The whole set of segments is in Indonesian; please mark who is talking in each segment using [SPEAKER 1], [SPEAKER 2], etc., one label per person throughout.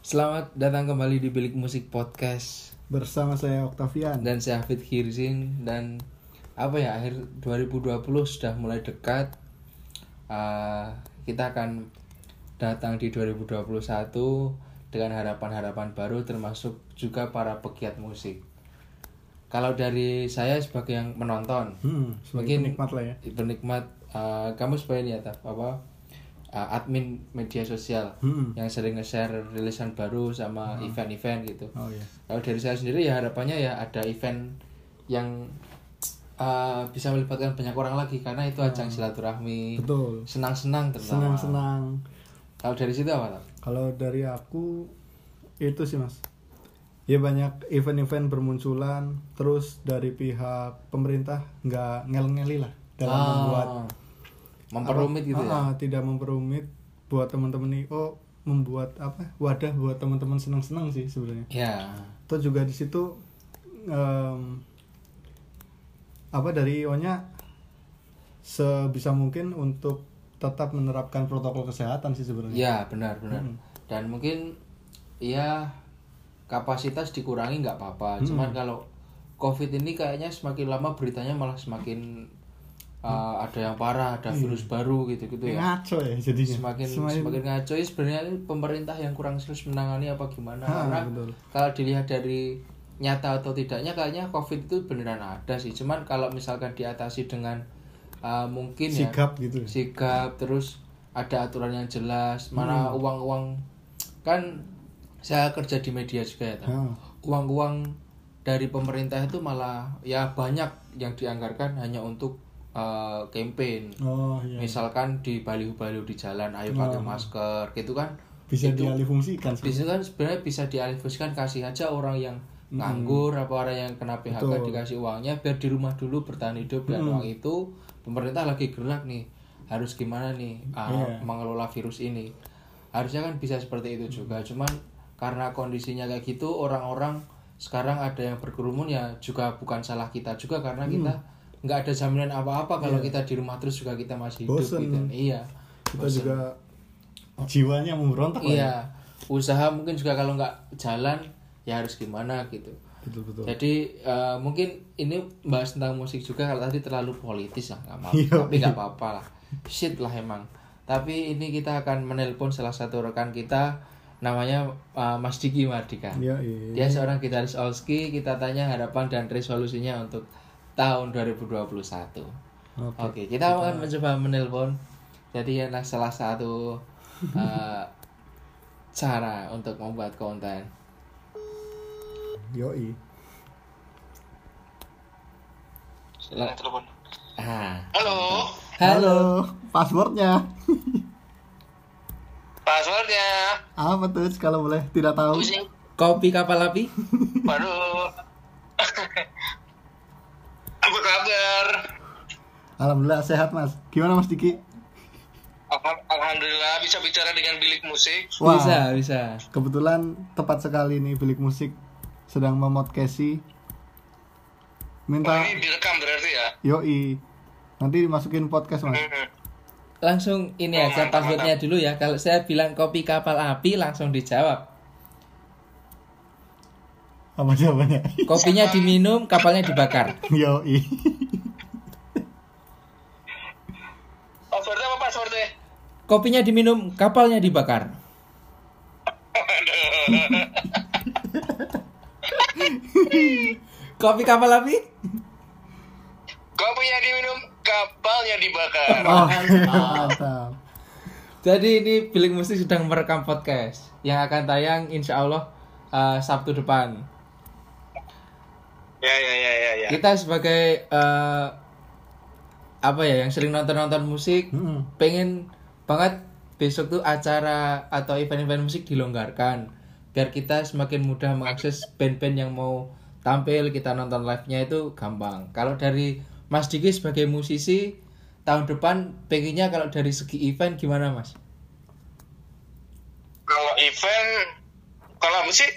[SPEAKER 1] Selamat datang kembali di Bilik Musik Podcast
[SPEAKER 2] bersama saya Oktavian.
[SPEAKER 1] dan saya Hafid Khirisin dan apa ya akhir 2020 sudah mulai dekat. Ah, kita akan datang di 2021 dengan harapan-harapan baru termasuk juga para pegiat musik. Kalau dari saya sebagai yang menonton,
[SPEAKER 2] Hmm, sebagai
[SPEAKER 1] Mungkin-
[SPEAKER 2] penikmat lah ya.
[SPEAKER 1] penikmat eh, kamu sebagai ini ya Taf, apa eh, admin media sosial
[SPEAKER 2] Hmm.
[SPEAKER 1] yang sering nge-share rilisan baru sama event-event gitu.
[SPEAKER 2] Oh ya.
[SPEAKER 1] Kalau dari saya sendiri ya harapannya ya ada event yang eh, bisa melibatkan banyak orang lagi karena itu ajang silaturahmi,
[SPEAKER 2] Hmm. Betul.
[SPEAKER 1] senang-senang terutama.
[SPEAKER 2] Senang-senang.
[SPEAKER 1] Kalau dari situ apa? Taf?
[SPEAKER 2] Kalau dari aku itu sih Mas. Ya banyak event-event bermunculan terus dari pihak pemerintah nggak ngel-ngeli lah dalam
[SPEAKER 1] Ah,
[SPEAKER 2] membuat
[SPEAKER 1] memperumit gitu ya.
[SPEAKER 2] Ah, ah, tidak memperumit buat teman-teman nih oh membuat apa wadah buat teman-teman senang-senang sih sebenarnya.
[SPEAKER 1] Ya.
[SPEAKER 2] Terus juga di situ em, apa dari IO-nya sebisa mungkin untuk tetap menerapkan protokol kesehatan sih sebenarnya.
[SPEAKER 1] Ya, benar, benar.
[SPEAKER 2] Hmm.
[SPEAKER 1] Dan mungkin ya kapasitas dikurangi nggak
[SPEAKER 2] Hmm.
[SPEAKER 1] apa-apa. Cuman kalau COVID ini kayaknya semakin lama beritanya malah semakin uh,
[SPEAKER 2] Hmm.
[SPEAKER 1] ada yang parah, ada
[SPEAKER 2] Iya.
[SPEAKER 1] virus baru gitu-gitu ya.
[SPEAKER 2] Ngaco ya jadinya.
[SPEAKER 1] Semakin semakin, ngaco ya sebenarnya ini pemerintah yang kurang serius menangani apa gimana.
[SPEAKER 2] Ah,
[SPEAKER 1] Karena
[SPEAKER 2] betul.
[SPEAKER 1] kalau dilihat dari nyata atau tidaknya kayaknya COVID itu beneran ada sih. Cuman kalau misalkan diatasi dengan uh, mungkin ya
[SPEAKER 2] sigap gitu. ya.
[SPEAKER 1] sikap terus ada aturan yang jelas
[SPEAKER 2] Hmm.
[SPEAKER 1] mana uang-uang kan saya kerja di media juga ya Tan.
[SPEAKER 2] Ah,
[SPEAKER 1] uang-uang dari pemerintah itu malah ya banyak yang dianggarkan hanya untuk eh, campaign
[SPEAKER 2] Oh iya.
[SPEAKER 1] misalkan di baliho-baliho di jalan ayo pakai masker gitu kan
[SPEAKER 2] Bisa dialihfungsikan sih.
[SPEAKER 1] di situ kan sebenarnya bisa dialihfungsikan kasih aja orang yang nganggur apa orang yang kena PHK dikasih uangnya biar di rumah dulu bertahan hidup dan uang itu pemerintah lagi gerak nih harus gimana nih ah, mengelola virus ini harusnya kan bisa seperti itu juga cuman karena kondisinya kayak gitu orang-orang sekarang ada yang berkerumun ya juga bukan salah kita juga karena kita nggak ada jaminan apa-apa kalau kita di rumah terus juga kita masih hidup
[SPEAKER 2] Bosen.
[SPEAKER 1] gitu iya
[SPEAKER 2] Kita juga jiwanya memberontak lah. ya.
[SPEAKER 1] Iya, usaha mungkin juga kalau nggak jalan ya harus gimana gitu.
[SPEAKER 2] Betul betul.
[SPEAKER 1] Jadi eh, mungkin ini bahas tentang musik juga kalau tadi terlalu politis ya nggak apa tapi nggak apa-apa lah, shit lah emang. Tapi ini kita akan menelpon salah satu rekan kita namanya eh, Mas Diki Mardika.
[SPEAKER 2] Iya iya.
[SPEAKER 1] Dia seorang gitaris Olski. Kita tanya harapan dan resolusinya untuk tahun 2021.
[SPEAKER 2] Oke.
[SPEAKER 1] Oke, kita akan mencoba menelpon. Jadi adalah salah satu eh, cara untuk membuat konten.
[SPEAKER 2] Yo
[SPEAKER 1] Silakan telepon. Ah.
[SPEAKER 3] Halo,
[SPEAKER 1] Halo.
[SPEAKER 2] Passwordnya
[SPEAKER 3] passwordnya
[SPEAKER 2] apa tuh kalau boleh tidak tahu?
[SPEAKER 1] Kopi kapal api?
[SPEAKER 3] baru. Apa kabar?
[SPEAKER 2] Alhamdulillah sehat mas. Gimana mas Diki?
[SPEAKER 3] Alham- Alhamdulillah bisa bicara dengan bilik musik.
[SPEAKER 2] Wah.
[SPEAKER 1] Bisa, bisa.
[SPEAKER 2] Kebetulan tepat sekali nih bilik musik sedang memodcasti. Minta
[SPEAKER 3] Ini direkam berarti ya.
[SPEAKER 2] yoi nanti dimasukin podcast mas.
[SPEAKER 3] Hmm.
[SPEAKER 1] Langsung ini aja passwordnya dulu ya. Kalau saya bilang kopi kapal api langsung dijawab.
[SPEAKER 2] Apa jawabannya?
[SPEAKER 1] Kopinya diminum, kapalnya dibakar.
[SPEAKER 2] yoi.
[SPEAKER 3] Passwordnya apa passwordnya?
[SPEAKER 1] Kopinya diminum, kapalnya dibakar. Kopi kapal api?
[SPEAKER 3] Kopinya diminum, kapalnya dibakar.
[SPEAKER 2] Oh, mantap.
[SPEAKER 1] Jadi ini Bilik Musik sedang merekam podcast yang akan tayang insya Allah eh, Sabtu depan.
[SPEAKER 3] Ya ya ya ya ya.
[SPEAKER 1] Kita sebagai eh, apa ya yang sering nonton-nonton musik,
[SPEAKER 2] Mm-mm.
[SPEAKER 1] pengen banget besok tuh acara atau event-event musik dilonggarkan biar kita semakin mudah mengakses band-band yang mau tampil kita nonton live-nya itu gampang. Kalau dari Mas Diki sebagai musisi tahun depan pengennya kalau dari segi event gimana Mas?
[SPEAKER 3] Kalau event, kalau aku sih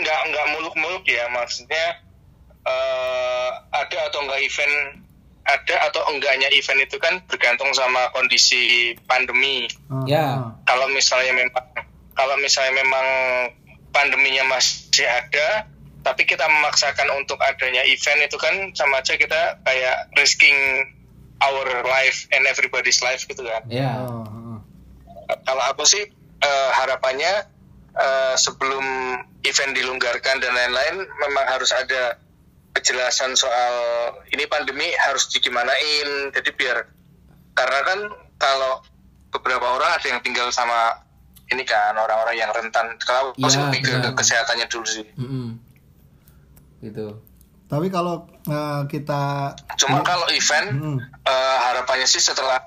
[SPEAKER 3] nggak nggak muluk-muluk ya maksudnya eh, ada atau enggak event ada atau enggaknya event itu kan bergantung sama kondisi pandemi.
[SPEAKER 2] Ah,
[SPEAKER 1] Ya.
[SPEAKER 2] ah.
[SPEAKER 3] kalau misalnya memang kalau misalnya memang pandeminya masih ada tapi kita memaksakan untuk adanya event itu kan sama aja kita kayak risking our life and everybody's life gitu kan
[SPEAKER 1] ya
[SPEAKER 2] Oh, heeh.
[SPEAKER 3] kalau aku sih eh, harapannya eh, sebelum event dilonggarkan dan lain-lain memang harus ada kejelasan soal ini pandemi harus digimanain jadi biar karena kan kalau beberapa orang ada yang tinggal sama ini kan orang-orang yang rentan kalau aku sih
[SPEAKER 1] Iya,
[SPEAKER 3] lebih ke
[SPEAKER 1] benar.
[SPEAKER 3] ke kesehatannya dulu sih
[SPEAKER 1] Mm-mm. gitu
[SPEAKER 2] Tapi kalau eh, kita
[SPEAKER 3] cuma kalau event
[SPEAKER 2] Hmm.
[SPEAKER 3] eh, harapannya sih setelah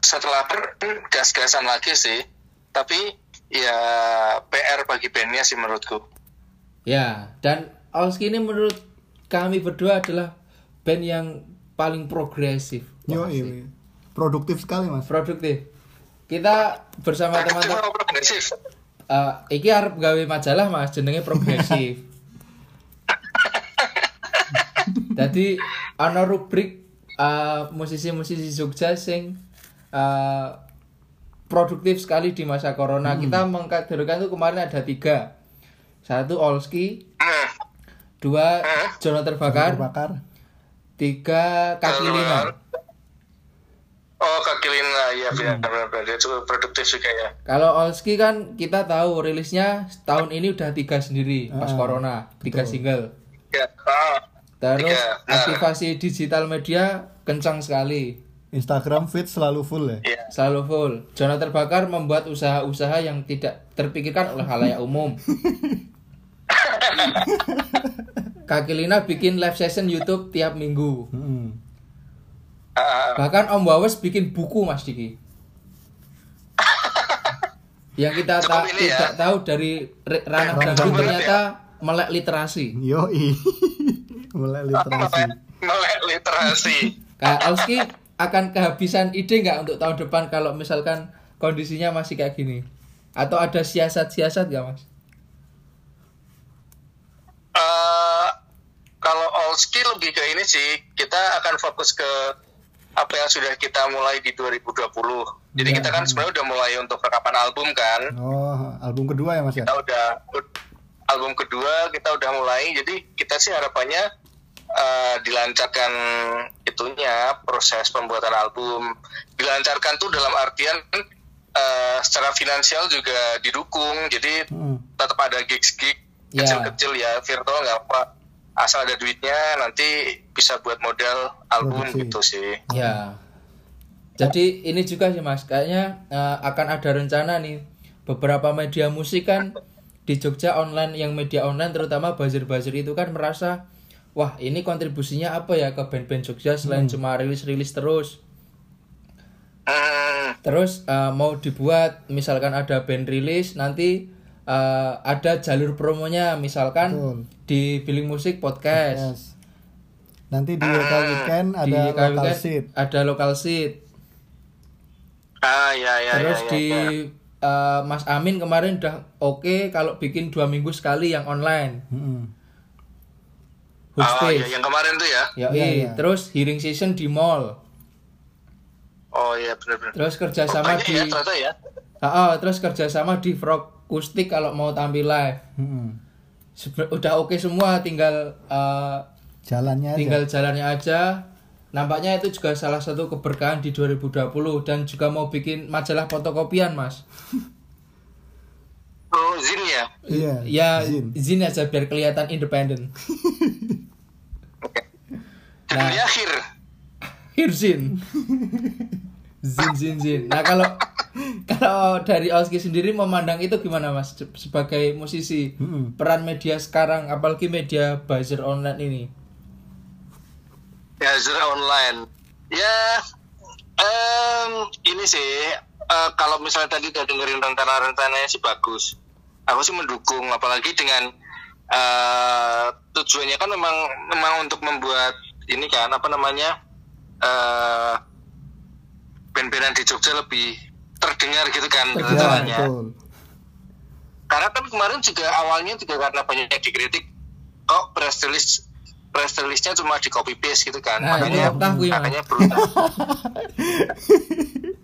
[SPEAKER 3] setelah ber gas-gasan lagi sih tapi ya PR bagi bandnya sih menurutku
[SPEAKER 1] ya dan Alski ini menurut kami berdua adalah band yang paling progresif
[SPEAKER 2] yo
[SPEAKER 1] Wah, asik.
[SPEAKER 2] ini produktif sekali mas.
[SPEAKER 1] produktif kita bersama
[SPEAKER 3] Produktif
[SPEAKER 1] teman-teman
[SPEAKER 3] apa progresif
[SPEAKER 1] Eh, iki harap gawe majalah mas jenenge progresif jadi ana rubrik eh, musisi-musisi Jogja sing eh, produktif sekali di masa corona kita mengkategorikan tuh kemarin ada tiga satu Olski
[SPEAKER 3] Hmm.
[SPEAKER 1] dua Jonathan Bakar
[SPEAKER 2] Terbakar.
[SPEAKER 1] tiga Kaki Lima
[SPEAKER 3] oh kakilin lah ya benar-benar dia juga produktif juga ya
[SPEAKER 1] kalau Olski kan kita tahu rilisnya tahun ini udah tiga sendiri pas corona tiga single
[SPEAKER 3] ya ah.
[SPEAKER 1] Terus
[SPEAKER 3] Tiga. Nah.
[SPEAKER 1] aktivasi digital media kencang sekali,
[SPEAKER 2] Instagram feed selalu full ya.
[SPEAKER 3] ya
[SPEAKER 1] selalu full. Zona terbakar membuat usaha-usaha yang tidak terpikirkan oleh halayak umum. Kaki Lina bikin live session YouTube tiap minggu.
[SPEAKER 2] Mm-mm.
[SPEAKER 3] Ah, ah.
[SPEAKER 1] Bahkan Om Wawes bikin buku Mas Diki. yang kita tak
[SPEAKER 3] Cukup ini ya.
[SPEAKER 1] tidak tahu dari re- ranah dangdut
[SPEAKER 3] Cukup ya.
[SPEAKER 1] ternyata melek literasi.
[SPEAKER 2] Yo i. Mulai literasi.
[SPEAKER 3] melek melek literasi
[SPEAKER 1] Kak Alski akan kehabisan ide nggak untuk tahun depan kalau misalkan kondisinya masih kayak gini? Atau ada siasat-siasat nggak mas?
[SPEAKER 3] eh kalau all skill lebih ke ini sih kita akan fokus ke apa yang sudah kita mulai di 2020. Jadi kita kan sebenarnya udah mulai untuk rekapan album kan.
[SPEAKER 2] Oh album kedua ya mas ya.
[SPEAKER 3] Kita udah album kedua kita udah mulai. Jadi kita sih harapannya eh, dilancarkan itunya proses pembuatan album. Dilancarkan tuh dalam artian eh, secara finansial juga didukung. Jadi
[SPEAKER 2] Mm.
[SPEAKER 3] tetap ada gigs-gig
[SPEAKER 1] Ya.
[SPEAKER 3] kecil-kecil ya virtual nggak apa asal ada duitnya nanti bisa buat modal album
[SPEAKER 2] Produksi.
[SPEAKER 3] gitu sih
[SPEAKER 1] Ya. Jadi ini juga sih mas, kayaknya eh, akan ada rencana nih. Beberapa media musik kan di Jogja online, yang media online terutama buzzer-buzzer itu kan merasa Wah ini kontribusinya apa ya ke band-band Jogja selain cuma rilis-rilis terus
[SPEAKER 3] hmm,
[SPEAKER 1] Terus eh, mau dibuat misalkan ada band rilis nanti eh, ada jalur promonya misalkan
[SPEAKER 2] Betul.
[SPEAKER 1] di Billing Musik Podcast,
[SPEAKER 2] Yes. Nanti di lokal weekend ada
[SPEAKER 1] di KWK
[SPEAKER 2] lokal seat.
[SPEAKER 1] ada lokal seat.
[SPEAKER 3] ah ya ya
[SPEAKER 1] Terus
[SPEAKER 3] ya, ya,
[SPEAKER 1] di
[SPEAKER 3] ya.
[SPEAKER 1] eh, Mas Amin kemarin udah oke kalau bikin dua minggu sekali yang online.
[SPEAKER 2] Mm-mm.
[SPEAKER 3] Ah,
[SPEAKER 1] Hostage.
[SPEAKER 3] ya, yang kemarin tuh ya
[SPEAKER 1] Yoi.
[SPEAKER 2] Iya,
[SPEAKER 1] Terus hearing session di mall.
[SPEAKER 3] oh ya benar-benar
[SPEAKER 1] Terus kerjasama
[SPEAKER 3] banyak
[SPEAKER 1] di
[SPEAKER 3] ya ternyata ya
[SPEAKER 1] Ah, ah, terus kerjasama di Frog Kustik kalau mau tampil live.
[SPEAKER 2] Mm-mm.
[SPEAKER 1] Sebe- udah oke semua tinggal eh,
[SPEAKER 2] Jalannya aja.
[SPEAKER 1] tinggal jalannya aja nampaknya itu juga salah satu keberkahan di 2020 dan juga mau bikin majalah fotokopian mas
[SPEAKER 3] oh Zin ya
[SPEAKER 2] Iya.
[SPEAKER 1] ya
[SPEAKER 2] Zin.
[SPEAKER 1] izin aja biar kelihatan independen Nah.
[SPEAKER 3] jadi akhir
[SPEAKER 1] Hirzin Zin Zin Zin nah kalau kalau dari Oski sendiri memandang itu gimana mas Se- sebagai musisi
[SPEAKER 2] Mm-mm.
[SPEAKER 1] peran media sekarang apalagi media buzzer online ini
[SPEAKER 3] ya Zura online ya em, ini sih eh, kalau misalnya tadi udah dengerin rencana-rencananya sih bagus aku sih mendukung apalagi dengan eh, tujuannya kan memang memang untuk membuat ini kan apa namanya eh band-bandan di Jogja lebih terdengar gitu kan
[SPEAKER 2] Ya,
[SPEAKER 3] rencananya
[SPEAKER 2] betul.
[SPEAKER 3] karena kan kemarin juga awalnya juga karena banyak yang dikritik kok press release press release-nya cuma di copy paste gitu kan.
[SPEAKER 1] Nah, ini
[SPEAKER 3] makanya
[SPEAKER 1] oktaf gue, Mas.
[SPEAKER 3] makanya perlu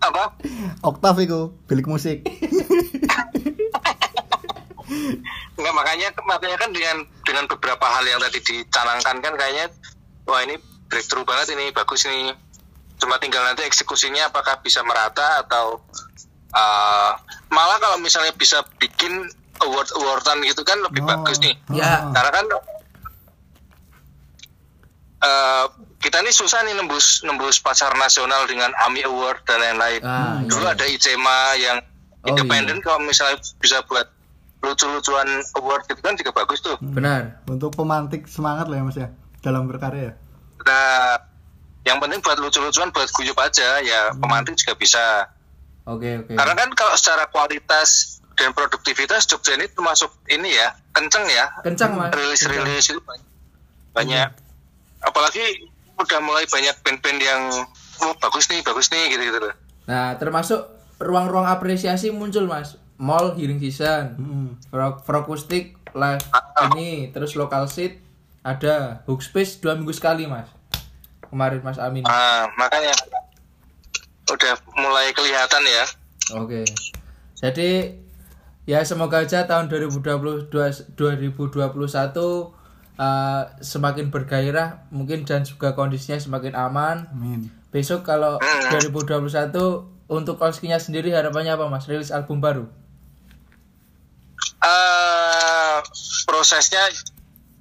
[SPEAKER 3] apa?
[SPEAKER 4] Oktav itu bilik musik.
[SPEAKER 3] Enggak makanya makanya kan dengan dengan beberapa hal yang tadi dicanangkan kan kayaknya wah ini breakthrough banget ini bagus nih. Cuma tinggal nanti eksekusinya apakah bisa merata atau eh, malah kalau misalnya bisa bikin award awardan gitu kan lebih
[SPEAKER 2] Oh.
[SPEAKER 3] bagus nih.
[SPEAKER 1] Ya.
[SPEAKER 3] Karena kan eh, kita nih susah nih nembus nembus pasar nasional dengan AMI Award dan lain-lain.
[SPEAKER 1] Ah, iya.
[SPEAKER 3] Dulu ada ICMA yang
[SPEAKER 1] Oh,
[SPEAKER 3] independen kalau misalnya bisa buat lucu-lucuan award gitu kan juga bagus tuh.
[SPEAKER 1] Hmm. Benar.
[SPEAKER 2] Untuk pemantik semangat lah ya Mas ya dalam berkarya. ya.
[SPEAKER 3] Nah, yang penting buat lucu-lucuan buat guyup aja ya
[SPEAKER 1] Hmm.
[SPEAKER 3] pemantik juga bisa.
[SPEAKER 1] Oke, oke.
[SPEAKER 3] Karena kan kalau secara kualitas dan produktivitas Jogja ini termasuk ini ya kenceng ya
[SPEAKER 1] Kencang, Mas.
[SPEAKER 3] rilis-rilis itu banyak, banyak. apalagi udah mulai banyak band-band yang oh bagus nih bagus nih gitu gitu loh
[SPEAKER 1] Nah, termasuk ruang-ruang apresiasi muncul, Mas. Mall Hearing Season, Frog Frokustik live ini, terus Local Seat ada Hook Space dua minggu sekali, Mas. Kemarin Mas Amin.
[SPEAKER 3] Ah, makanya udah mulai kelihatan ya
[SPEAKER 1] Oke. Jadi ya semoga aja tahun 2022 2021 eh, semakin bergairah mungkin dan juga kondisinya semakin aman.
[SPEAKER 2] Amin.
[SPEAKER 1] Besok kalau 2021 untuk Kolskinya sendiri harapannya apa Mas? Rilis album baru.
[SPEAKER 3] Eh, prosesnya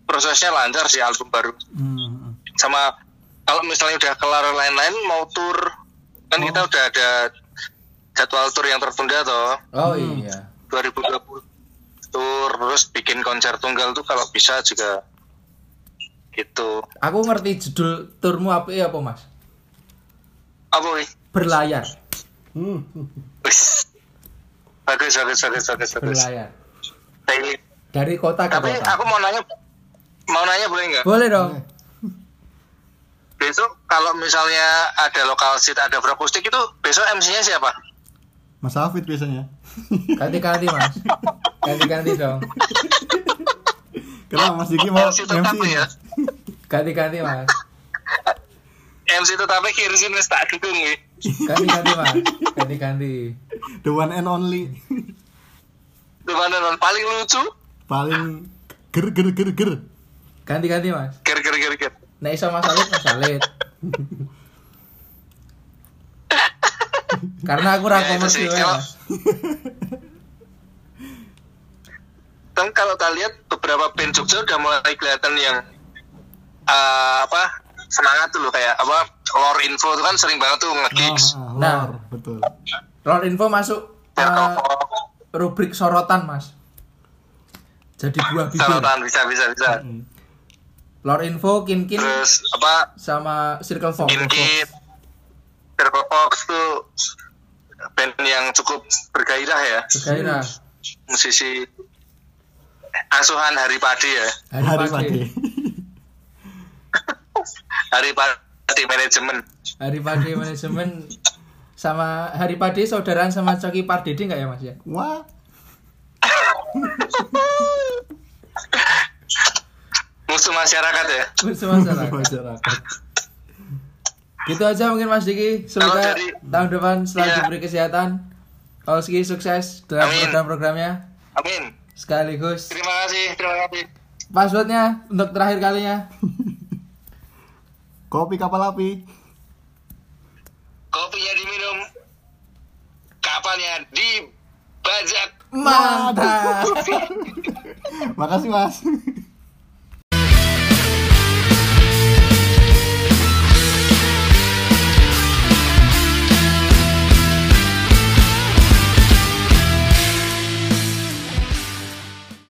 [SPEAKER 3] prosesnya lancar sih album baru
[SPEAKER 2] Hmm.
[SPEAKER 3] sama kalau misalnya udah kelar lain-lain mau tur kan kita udah ada jadwal tur yang tertunda toh
[SPEAKER 1] Oh iya.
[SPEAKER 3] 2020 tur terus bikin konser tunggal tuh kalau bisa juga gitu
[SPEAKER 1] Aku ngerti judul turmu apa ya apa Mas?
[SPEAKER 3] apa wih
[SPEAKER 1] Berlayar.
[SPEAKER 2] Hmm.
[SPEAKER 3] Wis. bagus bagus bagus bagus bagus
[SPEAKER 1] Berlayar.
[SPEAKER 3] Tapi-
[SPEAKER 1] Dari kota ke
[SPEAKER 3] tapi
[SPEAKER 1] kota.
[SPEAKER 3] aku mau nanya mau nanya boleh nggak
[SPEAKER 1] Boleh dong.
[SPEAKER 3] besok kalau misalnya ada lokal seat ada frakustik itu besok MC-nya siapa
[SPEAKER 2] Mas Hafid biasanya.
[SPEAKER 1] Ganti-ganti Mas. Ganti-ganti dong.
[SPEAKER 2] Kenapa Mas Diki mau
[SPEAKER 3] MC tetap ya
[SPEAKER 2] MC?
[SPEAKER 1] Ganti-ganti Mas.
[SPEAKER 3] MC tetapnya kiri sini tak dukung wih.
[SPEAKER 1] Ganti-ganti Mas. Ganti-ganti.
[SPEAKER 2] The one and only.
[SPEAKER 3] Gimana, Non? paling lucu
[SPEAKER 2] Paling ger ger ger ger.
[SPEAKER 1] Ganti-ganti Mas.
[SPEAKER 3] ger ger ger ger
[SPEAKER 1] Nek iso Mas Alit, Mas Alit. Karena aku ra
[SPEAKER 3] Ya, itu sih.
[SPEAKER 1] komersil ya,
[SPEAKER 3] Kalau-
[SPEAKER 1] Mas.
[SPEAKER 3] kan kalau kalian lihat beberapa band Jogja udah mulai kelihatan yang eh, apa semangat tuh loh kayak apa lore info tuh kan sering banget tuh nge-gigs
[SPEAKER 2] Ah,
[SPEAKER 1] Nah.
[SPEAKER 2] lor, betul.
[SPEAKER 1] Roll info masuk
[SPEAKER 3] Ah. Ya,
[SPEAKER 1] eh, rubrik sorotan, Mas. Jadi buah bibir.
[SPEAKER 3] sorotan bisa Hmm. bisa bisa
[SPEAKER 1] Lore info, kin-kin,
[SPEAKER 3] terus apa
[SPEAKER 1] sama Circle Fox.
[SPEAKER 3] Oh, kinkit Circle Fox tuh band yang cukup bergairah ya
[SPEAKER 1] Bergairah.
[SPEAKER 3] musisi asuhan Hari Padi ya
[SPEAKER 1] Hari,
[SPEAKER 2] Hari
[SPEAKER 1] pagi.
[SPEAKER 2] pagi.
[SPEAKER 3] Hari Padi manajemen
[SPEAKER 1] Hari pagi manajemen sama Hari pagi saudaraan sama Coki Pardede nggak ya Mas ya?
[SPEAKER 2] Wah.
[SPEAKER 3] musuh masyarakat ya
[SPEAKER 1] Bersama masyarakat.
[SPEAKER 2] Masyarakat.
[SPEAKER 1] Gitu aja mungkin Mas Diki. Semoga
[SPEAKER 3] Kalau dari-
[SPEAKER 1] tahun depan selalu
[SPEAKER 3] Iya.
[SPEAKER 1] diberi kesehatan. Olski sukses dalam
[SPEAKER 3] Amin.
[SPEAKER 1] program-programnya.
[SPEAKER 3] amin
[SPEAKER 1] Sekaligus
[SPEAKER 3] terima kasih terima kasih
[SPEAKER 1] passwordnya untuk terakhir kalinya.
[SPEAKER 2] Kopi kapal api.
[SPEAKER 3] kopinya diminum kapalnya dibajak
[SPEAKER 1] Mantap.
[SPEAKER 2] Makasih Mas.